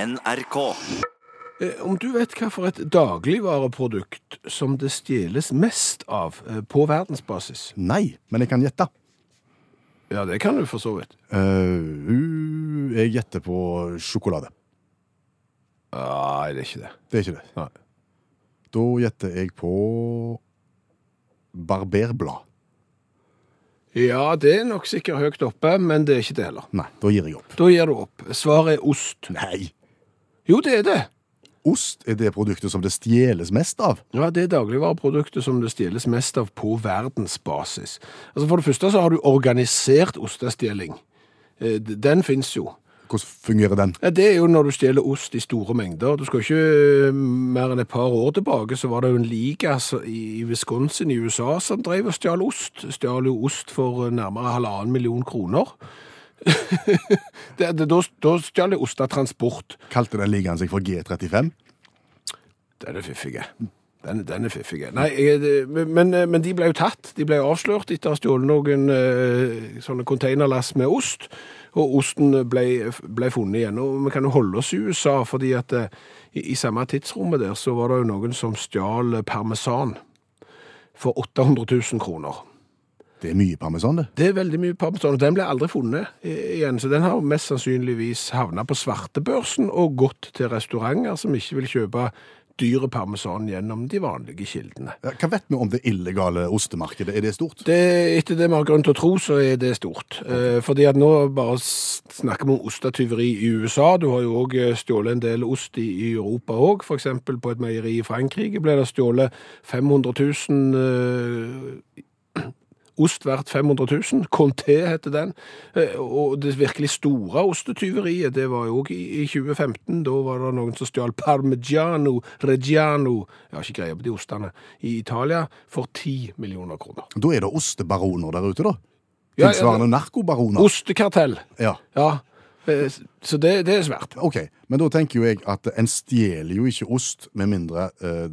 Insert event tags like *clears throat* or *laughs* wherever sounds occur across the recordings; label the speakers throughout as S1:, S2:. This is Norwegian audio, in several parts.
S1: NRK.
S2: Eh, Om du vet hva for et dagligvareprodukt som det stjeles mest av eh, på verdensbasis?
S3: Nei, men jeg kan gjette.
S2: Ja, det kan du for så vidt.
S3: Eh, uh, jeg gjetter på sjokolade.
S2: Nei, det er ikke det.
S3: Det er ikke det.
S2: Nei.
S3: Da gjetter jeg på barberblad.
S2: Ja, det er nok sikkert høyt oppe, men det er ikke det heller.
S3: Nei, da gir jeg opp.
S2: Da gir du opp. Svaret er ost.
S3: Nei!
S2: Jo, det er det.
S3: Ost er det produktet som det stjeles mest av.
S2: Ja, Det er dagligvareproduktet som det stjeles mest av på verdensbasis. Altså For det første så har du organisert ostestjeling. Eh, d- Den fins jo.
S3: Hvordan fungerer den?
S2: Ja, Det er jo når du stjeler ost i store mengder. Du skal ikke eh, mer enn et par år tilbake, så var det jo en liga så- i Wisconsin i USA som drev og stjal ost. Stjal jo ost for eh, nærmere halvannen million kroner. *laughs* det, det, da, da stjal de ostetransport.
S3: Kalte den ligaen seg for G35?
S2: Den er fiffig. Den, den er fiffig. Nei, jeg, det- men, eh, men de ble jo tatt. De ble avslørt etter å ha stjålet noen eh, sånne containerlass med ost. Og osten ble, ble funnet igjen. Og vi kan jo holde oss i USA, fordi at eh, i, i samme tidsrommet der så var det jo noen som stjal parmesan for 800 000 kroner.
S3: Det er mye parmesan, det.
S2: Det er veldig mye parmesan, og den ble aldri funnet i- igjen, så den har mest sannsynligvis havna på svartebørsen og gått til restauranter som ikke vil kjøpe dyre parmesan gjennom de vanlige kildene.
S3: Ja, Hva vet vi om det illegale ostemarkedet? Er det stort?
S2: Det, etter det vi har grunn til å tro, så er det stort. Eh, fordi at nå bare s- snakker vi om ostetyveri i USA. Du har jo òg eh, stjålet en del ost i, i Europa òg. F.eks. på et meieri i Frankrike ble det stjålet 500 000 eh, *clears throat* Ost verdt 500 000. Conté heter den. Eh, Og det virkelig store ostetyveriet, det var jo òg i i 2015. Da var det noen som stjal parmigiano reggiano Jeg har ikke greie på de ostene. I Italia for 10 millioner kroner.
S3: Da er det ostebaroner der ute, da.
S2: Ja, ja,
S3: Tilsvarende narkobaroner.
S2: Ostekartell.
S3: Ja,
S2: Ja. Eh, Så det, det er svært.
S3: ok. Men da tenker jo jeg at en stjeler jo ikke ost med mindre eh,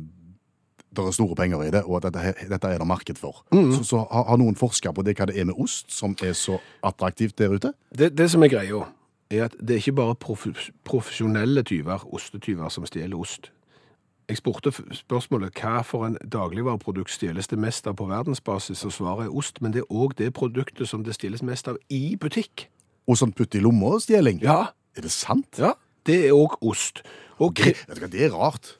S3: det er store penger i det, og at dette, her- dette er det marked for.
S2: Mm.
S3: Så, så har, har noen forska på det, hva det er med ost som er så attraktivt der ute?
S2: Det, det som er greia, er at det er ikke bare prof- profesjonelle tyver, ostetyver, som stjeler ost. Jeg spurte f- spørsmålet hva for en dagligvareprodukt stjeles det mest av på verdensbasis, og svaret er ost, men det er òg det produktet som det stjeles mest av i butikk.
S3: Og sånn putt i lomma og stjeling?
S2: Ja,
S3: Er det sant?
S2: ja. Det er òg ost. Og
S3: Det,
S2: kri-
S3: vet du hva, det er rart.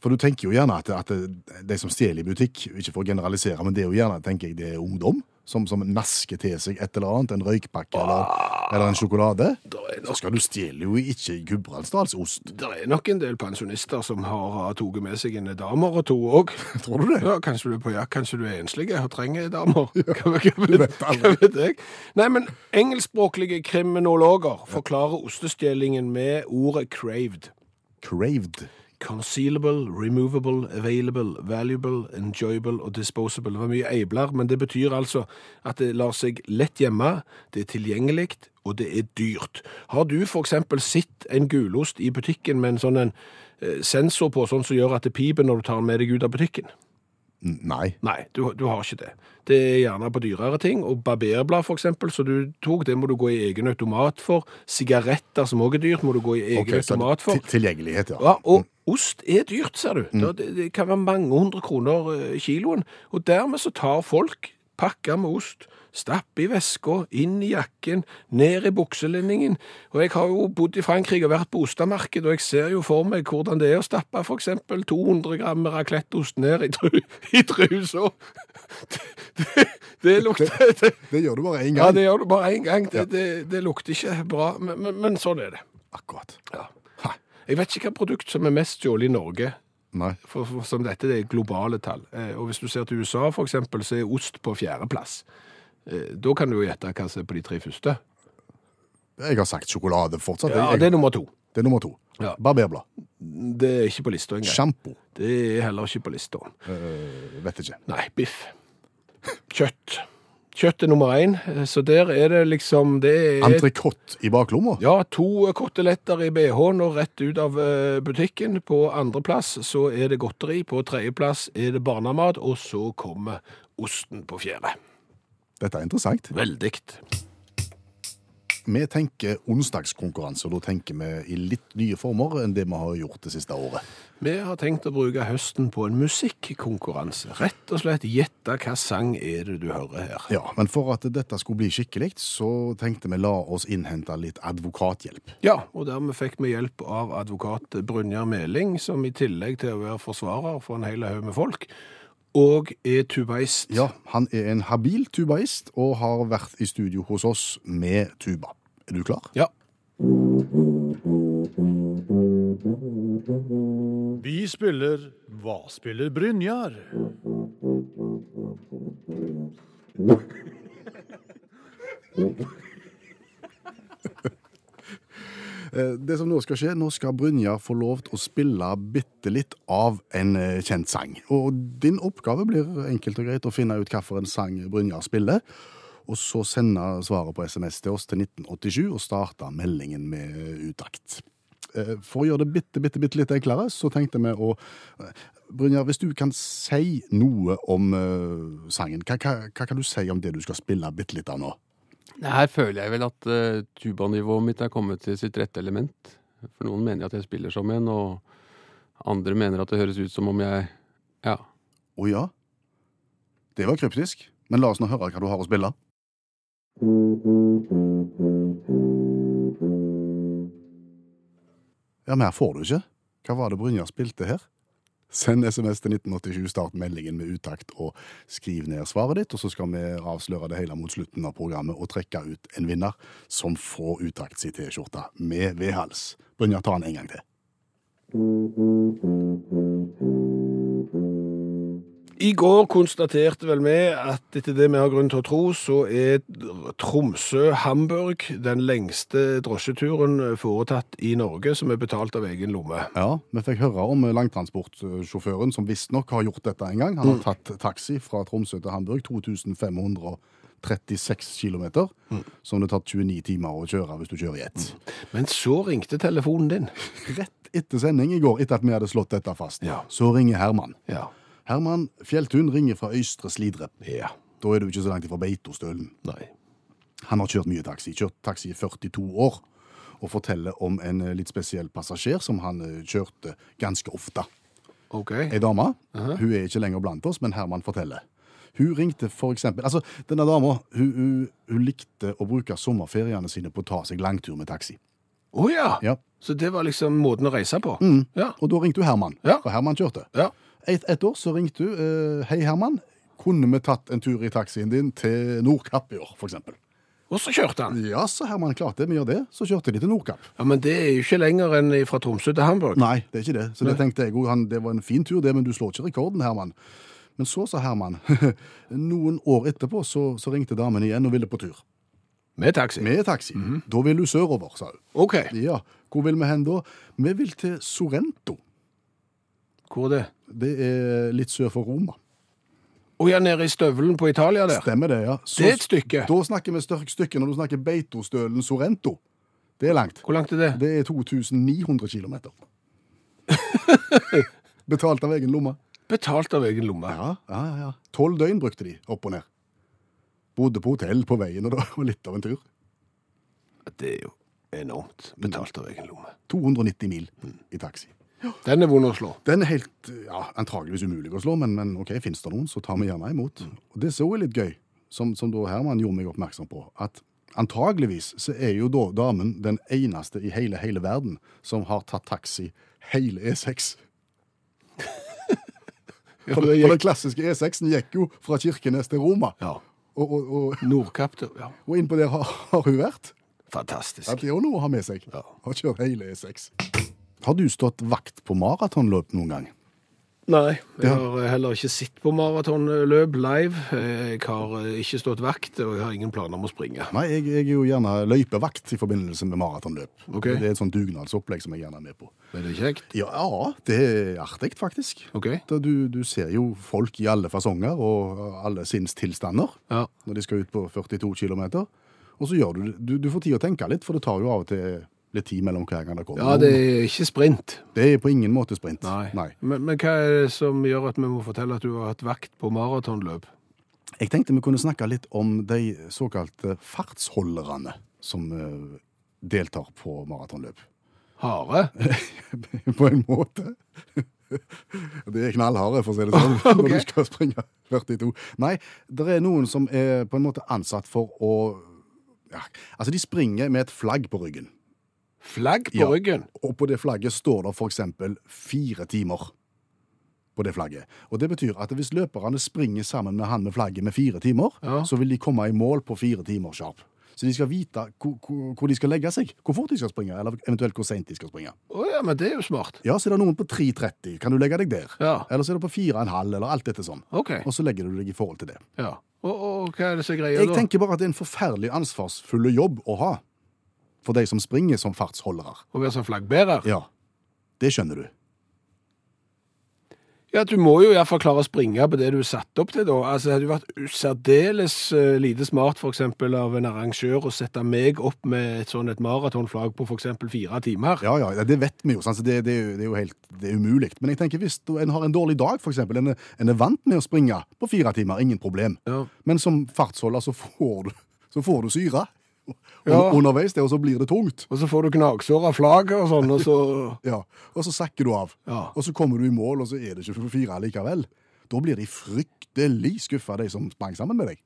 S3: For du tenker jo gjerne at, at de som stjeler i butikk, ikke for å generalisere, men det er jo gjerne tenker jeg, det er ungdom som, som nasker til seg et eller annet, en røykpakke eller, eller en sjokolade.
S2: det Ah. er
S3: Så skal du stjele jo ikke Gudbrandsdalsost,
S2: Det er nok en del pensjonister som har har tatt med seg en damer og to òg.
S3: tror du det?
S2: Ja, kanskje du er på jakt, kanskje du er enslig og trenger
S3: *laughs*
S2: damer. Hva, hva,
S3: du
S2: vet,
S3: vet
S2: hva
S3: aldri.
S2: vet jeg? Nei, men engelskspråklige kriminologer forklarer ostestjelingen med ordet craved.
S3: Craved.
S2: Concealable, removable, available, valuable, enjoyable og disposable. Det var mye eibler, men det betyr altså at det lar seg lett gjemme, det er tilgjengelig, og det er dyrt. Har du for eksempel sett en gulost i butikken med en sånn en eh, sensor på, sånn som gjør at det piper når du tar den med deg ut av butikken?
S3: N- Nei.
S2: Nei, du, du har ikke det. Det er gjerne på dyrere ting, og barberblad for eksempel, så du tok, det må du gå i egen automat for. Sigaretter, som også er dyrt, må du gå i egen
S3: Ok, så
S2: automat for.
S3: til- Tilgjengelighet, ja. Mm.
S2: Ja, og ost er dyrt, ser du. Det, det- det kan være mange hundre kroner eh, kiloen, og dermed så tar folk pakker med ost, stapp i veska, inn i jakken, ned i bukselinningen. Og jeg har jo bodd i Frankrike og vært på ostemarked, og jeg ser jo for meg hvordan det er å stappe for eksempel 200 gram racletteost ned i, tru, *laughs* i trusa. Det, det, det lukter det,
S3: Det gjør du bare én
S2: Ja,
S3: gang.
S2: det gjør du bare én gang. Det, det, det lukter ikke bra, men, men, men sånn er det.
S3: Akkurat.
S2: Ja. Ha. Jeg vet ikke hva produkt som er mest stjålet i Norge,
S3: Nei.
S2: for, for, som dette det er globale tall. Eh, og hvis du ser til USA for eksempel, så er ost på fjerdeplass. Eh, da kan du jo gjette hva som er på de tre første.
S3: Jeg har sagt sjokolade fortsatt.
S2: Ja,
S3: jeg,
S2: det
S3: jeg,
S2: er nummer to.
S3: det er nummer to.
S2: Ja.
S3: Barberblad.
S2: Det er ikke på lista engang.
S3: Sjampo.
S2: Det er heller ikke på lista.
S3: Eh, Vet ikke.
S2: Nei, biff. Kjøtt. Kjøtt er nummer én, eh, så der er det liksom det er
S3: Entrecôte i baklomma.
S2: Ja, to koteletter i BH-en og rett ut av eh, butikken. På andreplass så er det godteri, på tredjeplass er det barnemat, og så kommer osten på fjerde.
S3: Dette er interessant.
S2: Veldig.
S3: Vi tenker onsdagskonkurranse, og da tenker vi i litt nye former enn det vi har gjort det siste året.
S2: Vi har tenkt å bruke høsten på en musikkonkurranse. Rett og slett gjette hva sang er det du hører her.
S3: Ja, Men for at dette skulle bli skikkelig, så tenkte vi la oss innhente litt advokathjelp.
S2: Ja, og dermed fikk vi hjelp av advokat Brynjar Meling, som i tillegg til å være forsvarer for en hel haug med folk, og er tubaist.
S3: Ja, Han er en habil tubaist og har vært i studio hos oss med tuba. Er du klar?
S2: Ja.
S1: Vi spiller Hva spiller Brynjar?
S3: Eh, Det som nå skal skje, nå skal Brynjar få lov til å spille bitte litt av en eh, kjent sang. Og din oppgave blir enkelt og greit å finne ut hvilken sang Brynjar spiller. Og så sende svaret på SMS til oss til 1987 og starte meldingen med utakt. Eh, For å gjøre det bitte, bitte, bitte litt enklere, så tenkte vi å eh, Brynjar, hvis du kan si noe om eh, sangen, hva, hva, hva kan du si om det du skal spille bitte litt av nå?
S4: Her føler jeg vel at uh, tubanivået mitt er kommet til sitt rette element. For noen mener at jeg spiller som en, og andre mener at det høres ut som om jeg Ja.
S3: Å ja? Det var kryptisk. Men la oss nå høre hva du har å spille. Ja, mer får du ikke. Hva var det Brynjar spilte her? Send SMS til 1987, start meldingen med utakt og skriv ned svaret ditt, og så skal vi avsløre det hele mot slutten av programmet og trekke ut en vinner som får utakt si T-skjorte med vedhals. Brynjar, ta den en gang til.
S2: I går konstaterte vel vi at etter det vi har grunn til å tro, så er Tromsø-Hamburg den lengste drosjeturen foretatt i Norge, som er betalt av egen lomme.
S3: Ja, vi fikk høre om langtransportsjåføren som visstnok har gjort dette en gang. Han har tatt taxi fra Tromsø til Hamburg, 2536 km, som det tar 29 timer å kjøre hvis du kjører i ett.
S2: Men så ringte telefonen din.
S3: Rett etter sending i går, etter at vi hadde slått dette fast,
S2: Ja.
S3: så ringer Herman.
S2: Ja.
S3: Herman Fjelltun ringer fra Øystre Slidre.
S2: Ja.
S3: Da er du ikke så langt ifra Beitostølen.
S2: Nei.
S3: Han har kjørt mye taxi, kjørt taxi i 42 år, og forteller om en eh, litt spesiell passasjer som han eh, kjørte ganske ofte.
S2: OK.
S3: Ei dame. Hun er ikke lenger blant oss, men Herman forteller. Hun ringte for eksempel Altså, denne dama hun, hun, hun likte å bruke sommerferiene sine på å ta seg langtur med taxi.
S2: Å ja. Mm.
S3: Ja.
S2: Så det var liksom måten å reise på? Ja.
S3: Og da ringte hun Herman,
S2: Ja.
S3: for Herman kjørte.
S2: ja.
S3: Et, et år så ringte hun eh, Hei, Herman. Kunne vi tatt en tur i taxien din til Nordkapp i år, for eksempel?
S2: Og så kjørte han.
S3: Ja, sa Herman. Klart det. Vi gjør det. Så kjørte de til Nordkapp.
S2: Ja, Men det er jo ikke lenger enn fra Tromsø til Hamburg.
S3: Nei, det er ikke det. Så det tenkte jeg jo, han, det var en fin tur det, men du slår ikke rekorden, Herman. Men så sa Herman, *laughs* noen år etterpå så, så ringte damen igjen og ville på tur.
S2: Med taxi.
S3: Med taxi. Da vil du sørover, sa hun.
S2: OK.
S3: Ja, hvor vil vi hen da? Vi vil til Sorrento.
S2: Hvor er det?
S3: Det er litt sør for Roma.
S2: Å ja, nede i støvelen på Italia der.
S3: Stemmer det, ja. Så-
S2: Det er et stykke.
S3: Da snakker vi størk stykke når du snakker Beitostølen Sorrento. Det er langt.
S2: Hvor langt er det?
S3: Det er 2900 *laughs* kilometer. Betalt av egen lomme.
S2: Betalt av egen lomme.
S3: Ja, ja, ja, ja. Tolv døgn brukte de opp og ned. Bodde på hotell på veien, og det var litt av en tur.
S2: Det er jo enormt. Betalt av egen lomme.
S3: 290 mil i taxi.
S2: Den er vond å slå.
S3: Den er helt ja, antageligvis umulig å slå, men, men ok, fins det noen, så tar vi gjerne imot. Og Det som også er litt gøy, som, som da Herman gjorde meg oppmerksom på, at antageligvis så er jo da damen den eneste i hele, hele verden som har tatt taxi hele
S2: *laughs*
S3: E E6.
S2: det
S3: For, for
S2: gikk-
S3: den klassiske E6-en gikk jo fra Kirkenes til Roma.
S2: Ja.
S3: Og, og, og,
S2: Nordkapp til Ja.
S3: og innpå der har, har hun vært. Ja,
S2: Fantastisk.
S3: det er jo noe å ha med seg.
S2: Ja.
S3: Har kjørt hele E6. Har du stått vakt på maratonløp noen gang?
S2: Nei, jeg
S3: Ja.
S2: har eh, heller ikke sett på maratonløp live. Jeg har eh, ikke stått vakt, og jeg har ingen planer om å springe.
S3: Nei, jeg, jeg er jo gjerne løypevakt i forbindelse med maratonløp.
S2: Ok.
S3: Det er et sånt dugnadsopplegg som jeg gjerne er med på.
S2: Er det kjekt?
S3: Ja, ja, det er artig, faktisk.
S2: OK?
S3: Da Du, du ser jo folk i alle fasonger og alle sinnstilstander
S2: Ja.
S3: når de skal ut på 42 km. Og så gjør du det. Du, du får tid å tenke litt, for det tar jo av og til litt tid mellom hver gang det kommer.
S2: Ja, det er ikke sprint.
S3: det er på ingen måte sprint. Nei.
S2: Men, men hva er det som gjør at vi må fortelle at du har hatt vakt på maratonløp?
S3: Jeg tenkte vi kunne snakke litt om de såkalte fartsholderne. som eh, deltar på maratonløp.
S2: Hare?
S3: *laughs* på en måte. Det er knallharde, for å si det sånn, når du skal springe 42. Nei, det er noen som er på en måte ansatt for å ja, Altså, de springer med et flagg på ryggen,
S2: Flagg på
S3: Ja.
S2: ryggen?
S3: og på det flagget står det f.eks. fire timer. På det flagget. Og det betyr at hvis løperne springer sammen med han med flagget med fire timer,
S2: Ja.
S3: så vil de komme i mål på fire timer sharp. Så de skal vite hvor, hvor hvor de skal legge seg, hvor fort de skal springe, eller eventuelt hvor seint de skal springe.
S2: Å ja, men det er jo smart.
S3: Ja, så er det noen på 3,30. Kan du legge deg der?
S2: Ja.
S3: Eller så er det på 4,5, eller alt dette sånn.
S2: OK.
S3: Og så legger du deg i forhold til det.
S2: Ja. Og, og hva er det som er greia
S3: Jeg
S2: da?
S3: tenker bare at det er en forferdelig ansvarsfull jobb å ha. For de som springer som fartsholdere.
S2: Å være som flaggbærer?
S3: Ja. Det skjønner du.
S2: Ja, du må jo iallfall klare å springe på det du er satt opp til, da. Altså, det hadde jo vært særdeles eh, lite smart for eksempel av en arrangør å sette meg opp med et sånn et maratonflagg på f.eks. fire timer.
S3: Ja, ja, det vet vi jo. sant? Så Det, det, er jo- det er jo helt det er umulig. Men jeg tenker hvis du- en har en dårlig dag, f.eks. En, er- en er vant med å springe på fire timer, ingen problem.
S2: Ja.
S3: Men som fartsholder så får du, så får du syre
S2: Ja.
S3: underveis, det, og så blir det tungt.
S2: Og så får du gnagsår av flagget og sånn, og så
S3: Ja, Og så sakker du av.
S2: Ja.
S3: Og så kommer du i mål, og så er det ikke for fire likevel. Da blir de fryktelig skuffa, de som sprang sammen med deg.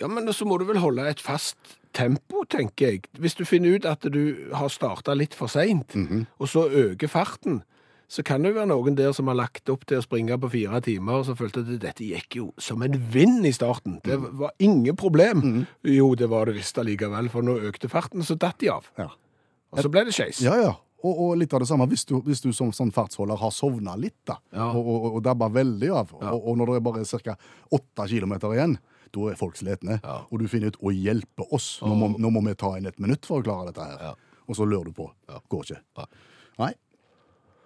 S2: Ja, men så må du vel holde et fast tempo, tenker jeg. Hvis du finner ut at du har starta litt for seint,
S3: Mhm.
S2: og så øker farten, så kan det jo være noen der som har lagt opp til å springe på fire timer, og så følte at dette gikk jo som en vind i starten. Det
S3: Mhm.
S2: var ingen problem. Jo, det var det visst allikevel, for nå økte farten, så datt de av.
S3: Ja,
S2: Og så ble det skeis.
S3: ja. Og, og litt av det samme hvis du, hvis du som sånn fartsholder har sovna litt, da,
S2: Ja.
S3: og, og, og dabba veldig av, og, og når det er bare ca. åtte kilometer igjen, da er folk slitne,
S2: Ja.
S3: og du finner ut å hjelpe oss. Nå må, nå må vi ta inn et minutt for å klare dette her. Og så lurer du på. Går ikke. Nei.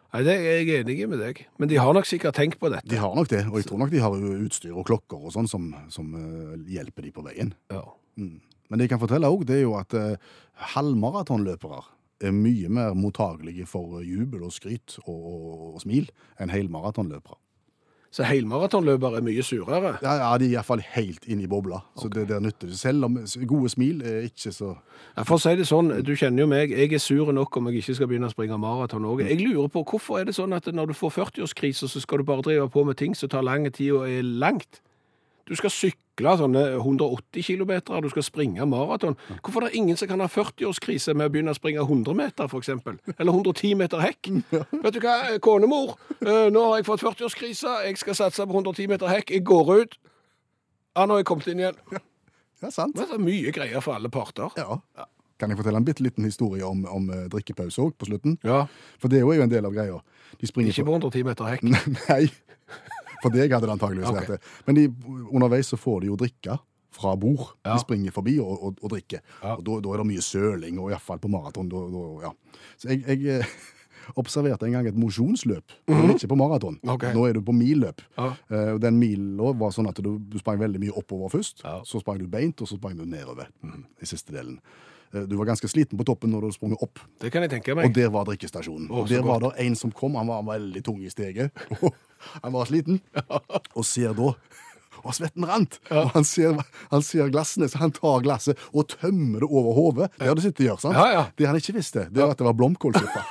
S2: Nei, det er jeg enig med deg. Men de har nok sikkert tenkt på dette.
S3: De har nok det, og jeg tror nok de har jo utstyr og klokker og sånn som, som eh, hjelper de på veien.
S2: Ja.
S3: Men det jeg kan fortelle òg, det er jo at eh, halvmaratonløpere er mye mer mottagelige for eh, jubel og skryt og, og, og smil enn helmaratonløpere.
S2: Så helmaratonløper er mye surere.
S3: Ja, ja, de er iallfall helt inne i bobla, så det der nytter det. Selv om gode smil er ikke så
S2: Ja, For å si det sånn, du kjenner jo meg, jeg er sur nok om jeg ikke skal begynne å springe maraton òg. Jeg lurer på hvorfor er det sånn at når du får 40-årskrise, så skal du bare drive på med ting som tar lang tid og er langt? Du skal sykle sånne 180 km, du skal springe maraton. Hvorfor er det ingen som kan ha 40-årskrise med å begynne å springe 100 meter, f.eks.? Eller 110 meter hekk? Vet du hva, konemor, eh, nå har jeg fått 40-årskrise, jeg skal satse på 110 meter hekk, jeg går ut. Ja, nå har jeg kommet inn igjen.
S3: Ja, sant?
S2: Det er mye greier for alle parter.
S3: Ja. Kan jeg fortelle en bitte liten historie om, om eh, drikkepause òg, på slutten?
S2: Ja.
S3: For det er jo en del av greia. De springer
S2: Ikke på 110 meter hekk.
S3: *laughs* Nei. For deg hadde det antageligvis
S2: Ok.
S3: vært det. Men de, underveis så får de jo drikke fra bord.
S2: Ja.
S3: De springer forbi og, og, og drikker.
S2: Ja.
S3: Og da, da er det mye søling, og iallfall på maraton. Da, da, ja. Så jeg, jeg eh, *laughs* observerte en gang et mosjonsløp, men ikke på maraton.
S2: Mhm. Ok.
S3: Nå er du på milløp.
S2: Ja.
S3: Eh, og den mila var sånn at du, du sprang veldig mye oppover først,
S2: Ja. Mhm.
S3: så sprang du beint, og så sprang du nedover i siste delen. Eh, Du var ganske sliten på toppen når du hadde sprunget opp.
S2: Det kan jeg tenke
S3: Og
S2: meg.
S3: der var drikkestasjonen.
S2: Å,
S3: og
S2: så
S3: der var det en som kom, han var veldig tung i steget. *laughs* han var sliten. Og ser da Og svetten rant! Og han ser, han ser glassene, så han tar glasset og tømmer det over hodet. Det har du sittet og gjort, sant?
S2: Ja, ja.
S3: Det han ikke visste, det var at det var blomkålsuppe.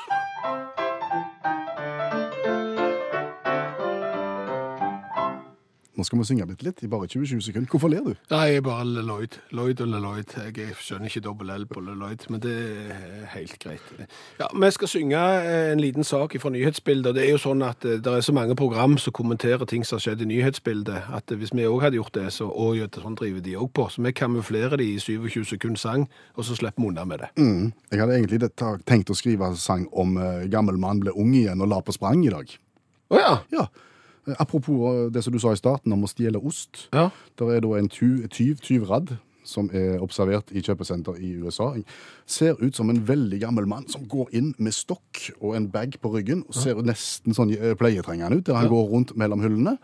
S3: Nå skal vi synge bitte litt, i bare 20-20 sekunder. Hvorfor ler du?
S2: Nei, jeg er bare Leloid. Lloyd og Leloid. Jeg skjønner ikke dobbel L på Leloid, men det er helt greit. Ja, Vi skal synge eh, en liten sak fra nyhetsbildet. og Det er jo sånn at eh, det er så mange program som kommenterer ting som har skjedd i nyhetsbildet, at eh, hvis vi òg hadde gjort det, så å, ja, det sånn driver de òg på. Så vi kamuflerer de i 27 sekunder sang, og så slipper vi unna med det.
S3: Mm. Jeg hadde egentlig det- ta- tenkt å skrive en sang om eh, gammel mann ble ung igjen og la på sprang i dag.
S2: Å ja.
S3: Ja. Eh, Apropos eh, det som du sa i starten om å stjele ost.
S2: ja.
S3: Der er da en tyv, tyv tyvradd som er observert i kjøpesenter i USA. Ser ut som en veldig gammel mann som går inn med stokk og en bag på ryggen. og Ser jo nesten sånn eh, pleietrengende ut, der han går rundt mellom hyllene.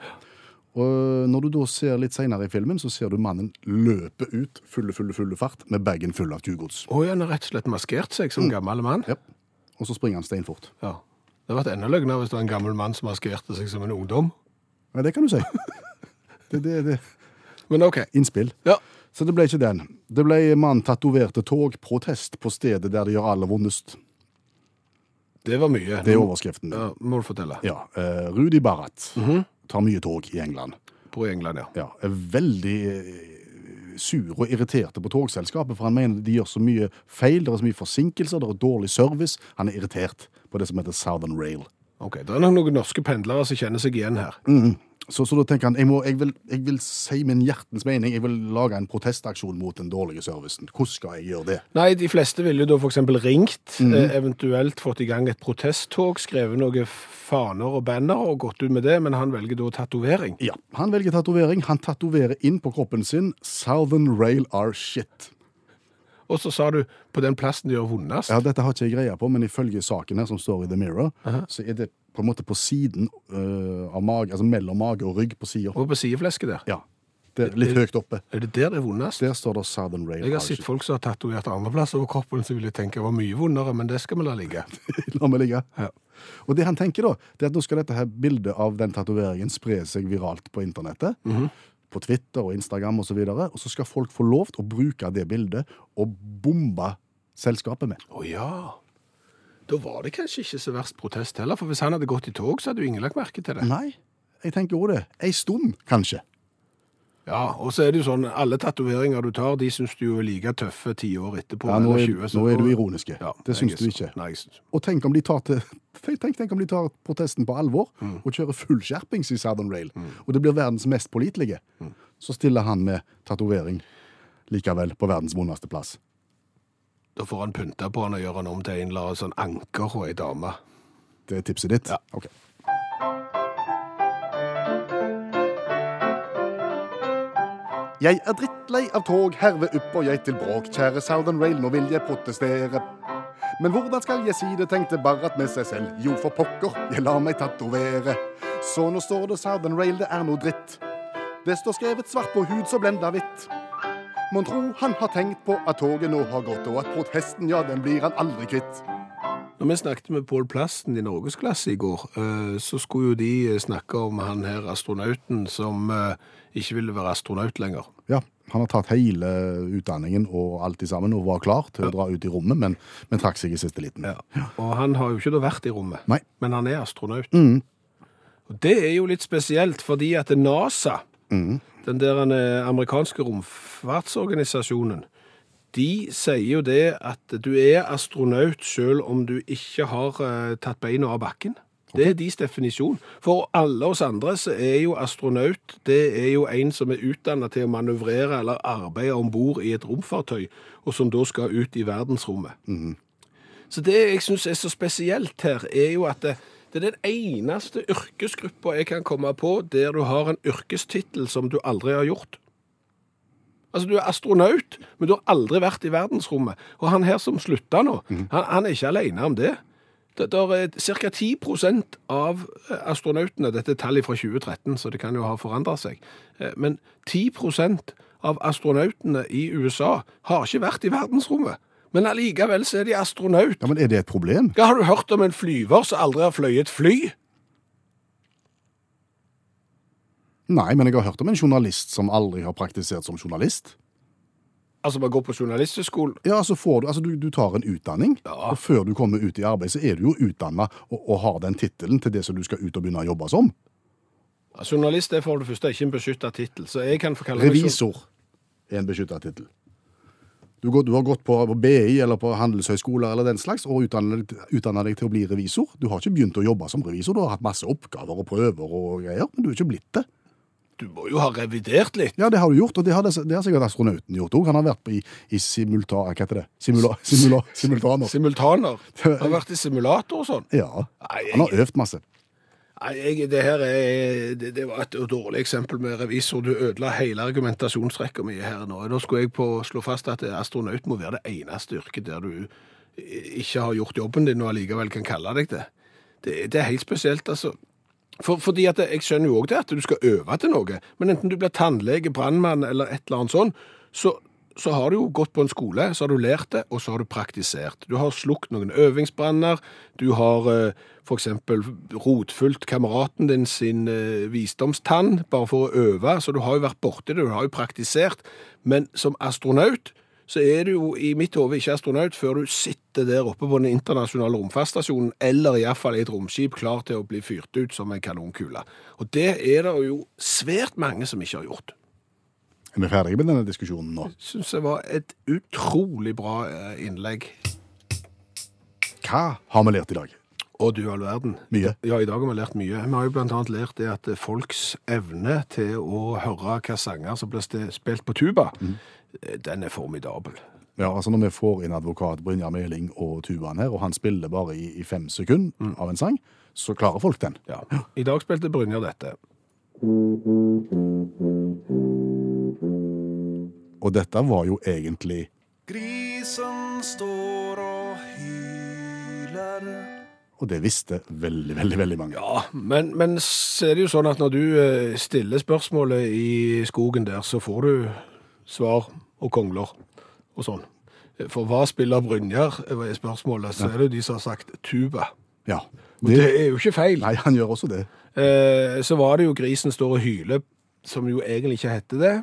S3: Og eh, når du da ser litt senere i filmen, så ser du mannen løpe ut fulle, fulle, fulle fart med bagen full av tjuvgods.
S2: Å ja, han har rett og slett maskert seg
S3: Mm.
S2: som gammel mann.
S3: Jep. Og så springer han steinfort.
S2: Ja. Det hadde vært enda løgnere hvis det var en gammel mann som maskerte seg som en ungdom.
S3: Ja, *laughs* det kan du si. Det, det, det.
S2: Men OK.
S3: Innspill.
S2: Ja.
S3: Så det ble ikke den. Det ble mann tatoverte tog protest på stedet der det gjør aller vondest.
S2: Det var mye.
S3: Det er overskriften.
S2: Ja, må du fortelle.
S3: Ja, eh, Rudi Barrett tar mye tog i England.
S2: På England, ja.
S3: Ja, er veldig eh, sur og irriterte på togselskapet, for han mener de gjør så mye feil, det er så mye forsinkelser, det er dårlig service. Han er irritert på det som heter Southern Rail.
S2: Ok, Det er nok noen norske pendlere som kjenner seg igjen her.
S3: Mm. Så, så da tenker han jeg, må, jeg, vil, jeg vil si min hjertens mening, jeg vil lage en protestaksjon mot den dårlige servicen. Hvordan skal jeg gjøre det?
S2: Nei, de fleste ville jo da f.eks. ringt,
S3: Mm.
S2: eh, eventuelt fått i gang et protesttog, skrevet noen faner og banner og gått ut med det, men han velger da tatovering.
S3: Ja, Han velger tatovering. Han tatoverer inn på kroppen sin 'Southern Rail are shit'.
S2: Og så sa du på den plassen det gjør vondest.
S3: Ja, Dette har ikke jeg greie på, men ifølge saken her som står i The Mirror, så er det på en måte på siden øh, av mage, altså mellom mage og rygg på sida.
S2: Og på sideflesket der.
S3: Ja. Det er litt høyt oppe.
S2: Er det der det er vondest?
S3: Der står det Southern Rail.
S2: Jeg har
S3: Arch.
S2: sett folk som har tatovert andreplass over kroppen, som ville tenke det var mye vondere, men det skal vi la
S3: *laughs*
S2: ligge.
S3: La meg ligge. Og det han tenker da, det er at nå skal dette her bildet av den tatoveringen spre seg viralt på internettet.
S2: Mhm.
S3: På Twitter og Instagram osv. Og, så videre, og så skal folk få lov til å bruke det bildet og bombe selskapet med.
S2: Å ja. Da var det kanskje ikke så verst protest heller, for hvis han hadde gått i tog, så hadde jo ingen lagt merke til det.
S3: Nei, jeg tenker òg det. Ei stund, kanskje.
S2: Ja, Og så er det jo sånn, alle tatoveringer du tar, de syns du jo er like tøffe ti år etterpå.
S3: Ja, nå,
S2: eller 20,
S3: er,
S2: så-
S3: nå er du ironiske.
S2: Ja,
S3: det
S2: jeg
S3: syns
S2: er
S3: du
S2: så-
S3: ikke.
S2: Nei, jeg syns
S3: Og tenk om de tar, til, *laughs* tenk, tenk om de tar protesten på alvor og kjører fullskjerpings i Southern Rail, og det blir verdens mest pålitelige, så stiller han med tatovering likevel på verdens vondeste plass.
S2: Da får han pynta på han og gjøre han om til en eller annen sånn anker og ei dame.
S3: Det er tipset ditt?
S2: Ja.
S3: Ok. Jeg er drittlei av tog, herve opp og jeg til bråk. Kjære Southern Rail, nå vil jeg protestere. Men hvordan skal jeg si det, tenkte Barrat med seg selv. Jo, for pokker, jeg lar meg tatovere. Så nå står det Southern Rail, det er noe dritt. Det står skrevet svart på hud så blenda hvitt. Mon tro han har tenkt på at toget nå har gått, og at protesten, ja, den blir han aldri kvitt.
S2: Når vi snakket med Pål Plasten i Norgesklasse i går, eh, så skulle jo de snakke om han her astronauten som eh, ikke ville være astronaut lenger.
S3: Ja, han har tatt hele utdanningen og alt i sammen og var klar til å dra ut i rommet, men, men trakk seg i siste liten.
S2: Og han har jo ikke da vært i rommet,
S3: Nei.
S2: men han er astronaut. Og det er jo litt spesielt, fordi at NASA, den der eh, amerikanske romfartsorganisasjonen, de sier jo det at du er astronaut selv om du ikke har eh, tatt beina av bakken. Det er deres definisjon. For alle oss andre så er jo astronaut det er jo en som er utdannet til å manøvrere eller arbeide ombord i et romfartøy, og som da skal ut i verdensrommet. Så det jeg syns er så spesielt her, er jo at det, det er den eneste yrkesgruppa jeg kan komme på der du har en yrkestittel som du aldri har gjort. Altså, Du er astronaut, men du har aldri vært i verdensrommet. Og han her som slutta nå, han, han er ikke alene om det. Det der er ca. 10 av eh, astronautene Dette er tallet fra 2013, så det kan jo ha forandra seg. eh, Men 10 av astronautene i USA har ikke vært i verdensrommet. Men allikevel så er de astronaut.
S3: Ja, Men er det et problem?
S2: Ja, har du hørt om en flyver som aldri har fløyet fly?
S3: Nei, men jeg har hørt om en journalist som aldri har praktisert som journalist.
S2: Altså, man går på journalisthøyskolen.
S3: Ja, altså, får du, altså du, du tar en utdanning,
S2: Ja.
S3: og før du kommer ut i arbeid, så er du jo utdanna og, og har den tittelen til det som du skal ut og begynne å jobbe som.
S2: Ja, Journalist er for det første ikke en beskytta tittel, så jeg kan få kalle meg jour-
S3: Revisor er en beskytta tittel. Du, går- du har gått på, på BI eller på handelshøyskoler eller den slags og utdanna deg til å bli revisor. Du har ikke begynt å jobbe som revisor. Du har hatt masse oppgaver og prøver og greier, men du er ikke blitt det.
S2: Du må jo ha revidert litt.
S3: Ja, det har du gjort, og det har, det har sikkert astronauten gjort òg. Han har vært på, i, i simulta... Hva heter det? *laughs* Simula, simula, simultaner.
S2: Simultaner. Har vært i simulator og sånn.
S3: Ja.
S2: Nei,
S3: Han har øvd masse.
S2: Nei, jeg, det her er, det, det var et dårlig eksempel med revisor. Du ødela hele argumentasjonsrekka mi her nå. Da skulle jeg på slå fast at astronaut må være det eneste yrket der du i- ikke har gjort jobben din og allikevel kan kalle deg det. Det, det er helt spesielt, altså. For, fordi at Jeg skjønner jo òg det at du skal øve til noe, men enten du blir tannlege, brannmann eller et eller annet sånn, så, så har du jo gått på en skole, så har du lært det, og så har du praktisert. Du har slukt noen øvingsbranner, du har eh, for eksempel rotfulgt kameraten din sin eh, visdomstann, bare for å øve, så du har jo vært borti det, du har jo praktisert. Men som astronaut, så er du jo i mitt hode ikke astronaut før du sitter der oppe på den internasjonale romfartstasjonen, eller iallfall i et romskip klar til å bli fyrt ut som en kanonkule. Og det er det jo svært mange som ikke har gjort.
S3: Er vi ferdige med denne diskusjonen nå?
S2: Syns det var et utrolig bra eh, innlegg.
S3: Hva har vi lært i dag?
S2: Å, du all verden.
S3: Mye.
S2: Ja, i dag har vi lært mye. Vi har jo blant annet lært det at folks evne til å høre hva sanger som blir ste- spilt på tuba, eh, den er formidabel.
S3: Ja, altså Når vi får inn advokat Brynjar Meling og tubaen her, og han spiller bare i, i fem sekunder
S2: Mm.
S3: av en sang, så klarer folk den.
S2: Ja. I dag spilte Brynjar dette.
S3: Og dette var jo egentlig
S5: Grisen står og hyler.
S3: Og det visste veldig, veldig veldig mange.
S2: Ja, men, men så er det jo sånn at når du eh, stiller spørsmålet i skogen der, så får du svar og kongler og sånn. For hva spiller Brynjar, er spørsmålet, så er det jo de som har sagt tuba.
S3: Ja.
S2: Og det er jo ikke feil.
S3: Nei, han gjør også det.
S2: Eh, så var det jo Grisen står og hyler, som jo egentlig ikke heter det.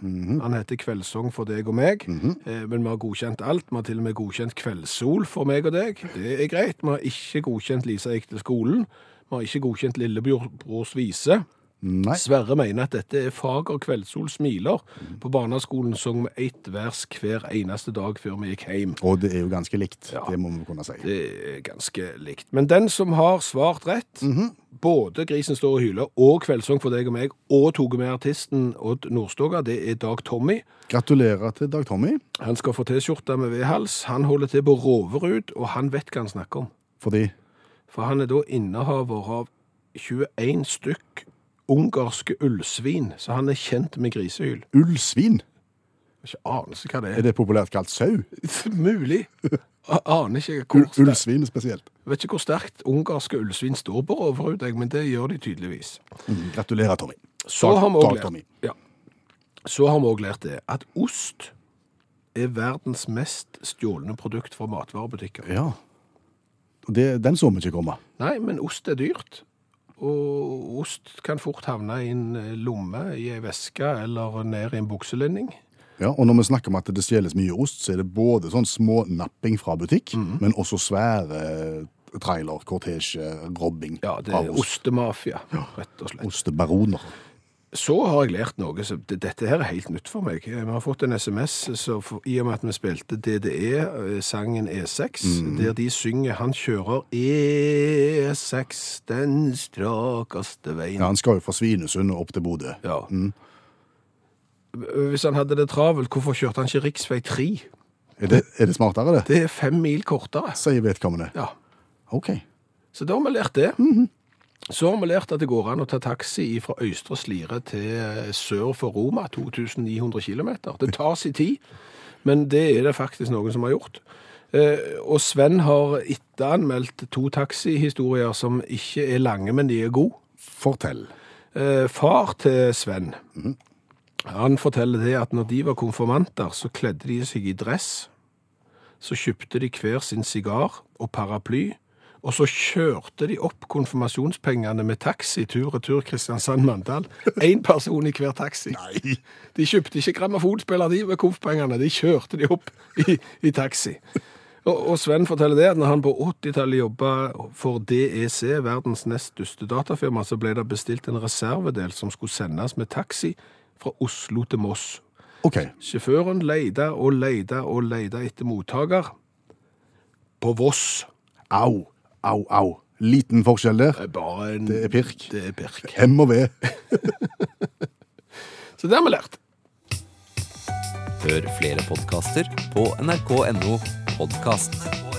S2: Han heter Kveldssong for deg og meg, eh, men vi har godkjent alt. Vi har til og med godkjent Kveldssol for meg og deg. Det er greit. Vi har ikke godkjent Lisa gikk til skolen. Vi har ikke godkjent Lillebrors vise.
S3: Nei.
S2: Sverre mener at dette er fager kveldssol smiler. På barneskolen sang vi ett vers hver eneste dag før vi gikk hjem.
S3: Og det er jo ganske likt.
S2: Ja.
S3: Det må vi kunne si.
S2: Det er ganske likt. Men den som har svart rett,
S3: Mhm.
S2: både 'Grisen står og hyler' og 'Kveldssang for deg og meg' og tok med artisten Odd Nordstoga, det er Dag Tommy.
S3: Gratulerer til Dag Tommy,
S2: Han skal få T-skjorte med vedhals. Han holder til på Roverud, og han vet hva han snakker om.
S3: fordi
S2: For han er da innehaver av 21 stykk ungarske ullsvin, så han er kjent med grisehyl.
S3: ullsvin
S2: Jeg har Ikke anelse hva det
S3: er
S2: er. *laughs*
S3: det populært kalt sau.
S2: Mulig. Jeg Aner ikke hvor
S3: Ull-
S2: sterkt-
S3: Ullsvin spesielt.
S2: Jeg vet ikke hvor sterkt ungarske ullsvin står på Roverud, jeg, men det gjør de tydeligvis.
S3: Mm, Gratulerer, Tommy.
S2: Så har vi
S3: Dag
S2: også
S3: Tommy.
S2: lært, ja. Så har vi også lært det at ost er verdens mest stjålne produkt fra matvarebutikker.
S3: Ja. Det, den så vi ikke komme.
S2: Nei, men ost er dyrt. Og ost kan fort havne i en eh, lomme, i ei veske eller ned i en bukselinning.
S3: Ja, og når vi snakker om at det stjeles mye ost, så er det både sånn små napping fra butikk,
S2: Mhm.
S3: men også svære eh, trailer, kortesje, robbing
S2: Ja, det er
S3: av ost.
S2: ostemafia, rett og slett.
S3: Ostebaroner.
S2: Så har jeg lært noe som det- Dette her er helt nytt for meg. Vi har fått en SMS så for, i og med at vi spilte E, DDE-sangen E6, E der de synger Han kjører E6 den strakeste veien.
S3: Ja, han skal jo fra Svinesund og opp til Bodø.
S2: Ja. Hvis han hadde det travelt, hvorfor kjørte han ikke riksvei 3?
S3: Er det, er det smartere, det?
S2: Det er fem mil kortere.
S3: Sier vedkommende.
S2: Ja.
S3: OK.
S2: Så da har vi lært det. Så har vi lært at det går an å ta taxi fra Øystre Slire til eh, sør for Roma, 2900 km. Det tar sin tid, men det er det faktisk noen som har gjort. Eh, og Sven har etteranmeldt to taxihistorier som ikke er lange, men de er gode.
S3: Fortell.
S2: Eh, far til Sven, han forteller det at når de var konfirmanter, så kledde de seg i dress, så kjøpte de hver sin sigar og paraply, og så kjørte de opp konfirmasjonspengene med taxi tur-retur Kristiansand-Mandal. Én person i hver taxi.
S3: Nei.
S2: De kjøpte ikke grammofonspiller, de, med konfpengene. De kjørte de opp i, i taxi. Og, og Sven forteller det at når han på 80-tallet jobba for DEC, verdens nest største datafirma, så ble det bestilt en reservedel som skulle sendes med taxi fra Oslo til Moss.
S3: OK.
S2: Sjåføren leide og leide og leide etter mottaker. På Voss.
S3: Au, au, au. Liten forskjell der.
S2: Det er bare en
S3: Det er pirk.
S2: Det er pirk.
S3: M og V.
S2: Så det har vi lært.
S6: Hør flere podkaster på nrk.no podkast.
S5: NRK